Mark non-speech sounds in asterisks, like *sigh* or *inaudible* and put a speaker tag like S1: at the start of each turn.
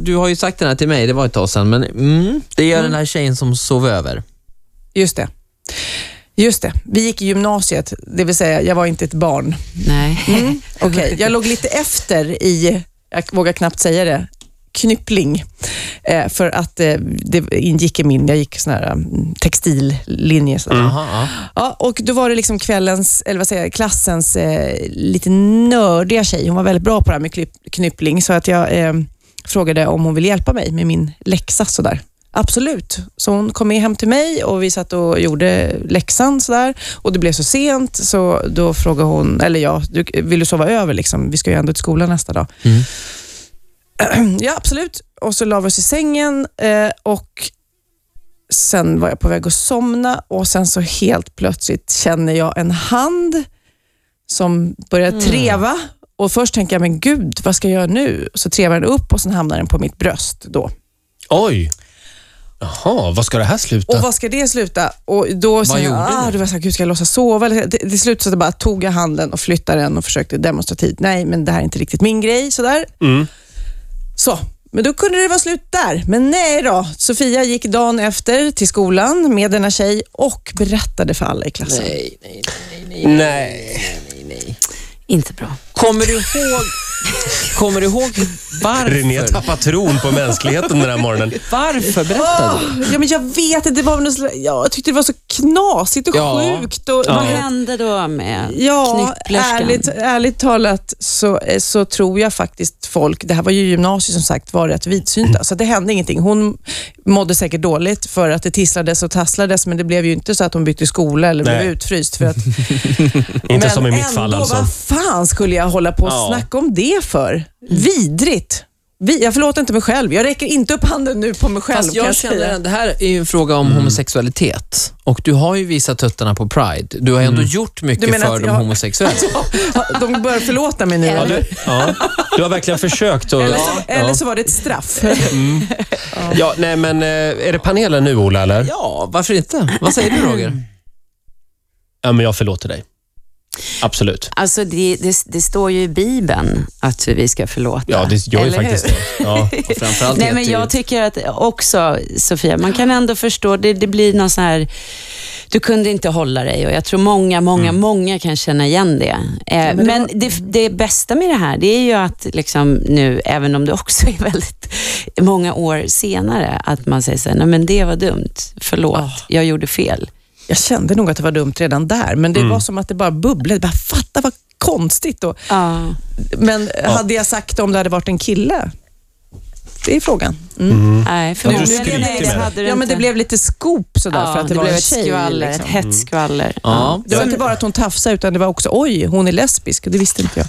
S1: du har ju sagt den här till mig, det var ett tag sedan, men mm, det gör den här tjejen som sov över.
S2: Just det. Just det. Vi gick i gymnasiet, det vill säga jag var inte ett barn. Mm,
S3: Nej.
S2: Okej, jag låg lite efter i, jag vågar knappt säga det, knyppling. Eh, för att eh, det ingick i min, jag gick sån här mm, textillinje. Sådär.
S4: Mm.
S1: Aha, ja.
S2: Ja, och då var det liksom kvällens, eller vad säger jag, klassens eh, lite nördiga tjej. Hon var väldigt bra på det här med klyp- knyppling, så att jag eh, frågade om hon ville hjälpa mig med min läxa. Sådär. Absolut. Så hon kom med hem till mig och vi satt och gjorde läxan sådär. Och det blev så sent, så då frågade hon, eller jag, du, vill du sova över? Liksom? Vi ska ju ändå till skolan nästa dag.
S4: Mm.
S2: *clears throat* Ja, absolut. Och så la vi oss i sängen eh, och sen var jag på väg att somna och sen så helt plötsligt känner jag en hand som börjar treva. Och Först tänker jag, men gud, vad ska jag göra nu? Så trevar den upp och sen hamnar den på mitt bröst. då.
S4: Oj! Jaha, vad ska det här sluta?
S2: Och vad ska det sluta? Och då sa jag,
S1: gjorde
S2: ah,
S1: du?
S2: du var så här, gud ska jag låtsas sova? Eller- Det, det slut så att jag bara tog jag handen och flyttade den och försökte demonstrativt, nej men det här är inte riktigt min grej. Sådär. Så, men då kunde det vara slut där. Men nej då, Sofia gick dagen efter till skolan med denna tjej och berättade för alla i klassen.
S1: Nej, nej, nej, nej.
S4: Nej.
S3: Inte bra.
S1: Kommer du ihåg, kommer du ihåg
S4: René
S1: varför?
S4: tappar tron på mänskligheten den här morgonen.
S1: Varför? Berätta du.
S2: Ah, Ja, men jag vet inte, det var väl något slags- ja, jag tyckte det var så knasigt och
S1: Ja.
S2: sjukt. Och,
S3: Vad
S2: ja.
S3: hände då med
S2: Ja,
S3: knypplerskan?
S2: ärligt, ärligt talat så, eh, så tror jag faktiskt folk, det här var ju gymnasiet som sagt, var rätt
S4: Mm.
S2: vidsynta. Så det hände ingenting. Hon mådde säkert dåligt för att det tisslades och tasslades, men det blev ju inte så att hon bytte skola eller
S4: Nej.
S2: blev utfryst. För att,
S4: *laughs* Inte
S2: men
S4: som i mitt fall
S2: ändå,
S4: alltså.
S2: vad fan skulle jag hålla på och
S4: Ja. Mm.
S2: snacka om det för? Vidrigt. Vi, jag förlåter inte mig själv. Jag räcker inte upp handen nu på mig själv.
S1: Fast
S2: kan
S1: jag
S2: jag säga.
S1: känner att det här är ju en fråga
S4: Mm.
S1: om homosexualitet och du har ju visat tuttarna på Pride. Du har ändå
S4: Mm.
S1: gjort
S2: Du
S1: mycket
S2: menar
S1: för
S2: att
S1: de
S2: jag-
S1: homosexuella.
S2: De bör förlåta mig nu.
S4: Ja,
S2: Eller,
S4: du, ja, du har verkligen försökt att...
S2: eller, så,
S4: Ja.
S2: eller så var det ett straff.
S4: *laughs* Ja, nej men eh, är det panelen nu Ola eller?
S1: Ja, varför inte? Vad säger du Roger?
S4: Ja, men jag förlåter dig. Absolut.
S3: Alltså det, det, det står ju i Bibeln att vi ska förlåta.
S4: Ja, det gör ju
S3: eller hur?
S4: faktiskt det. Ja.
S1: Och framförallt
S3: Nej, men
S1: vet du-
S3: jag tycker att också, Sofia, man kan ändå förstå, det, det blir någon sån här, du kunde inte hålla dig och jag tror många, många,
S4: Mm.
S3: många kan känna igen det. Eh, men det, det, bästa med det här, det är ju att liksom nu, även om det också är väldigt många år senare, att man säger så här, nej men det var dumt, förlåt, jag gjorde fel.
S2: Jag kände nog att det var dumt redan där, men det
S4: Mm.
S2: var som att det bara bubblade. Bara, fatta vad konstigt. Och,
S3: Ja.
S2: men eh, hade jag sagt det om det hade varit en kille? Det är frågan. Mm.
S3: Nej,
S4: Mm. du
S3: förmodligen
S4: skryter
S3: nej,
S4: med det.
S3: hade du
S2: Ja, men
S3: inte.
S2: det blev lite skop sådär
S3: Ja,
S2: för att det, var
S3: blev
S2: en
S3: ett
S2: tjej.
S3: skvaller,
S2: liksom.
S3: ett hetsskvaller.
S1: Ja.
S2: Det var inte bara att hon tafsade, utan det var också oj, hon är lesbisk. Det visste inte jag.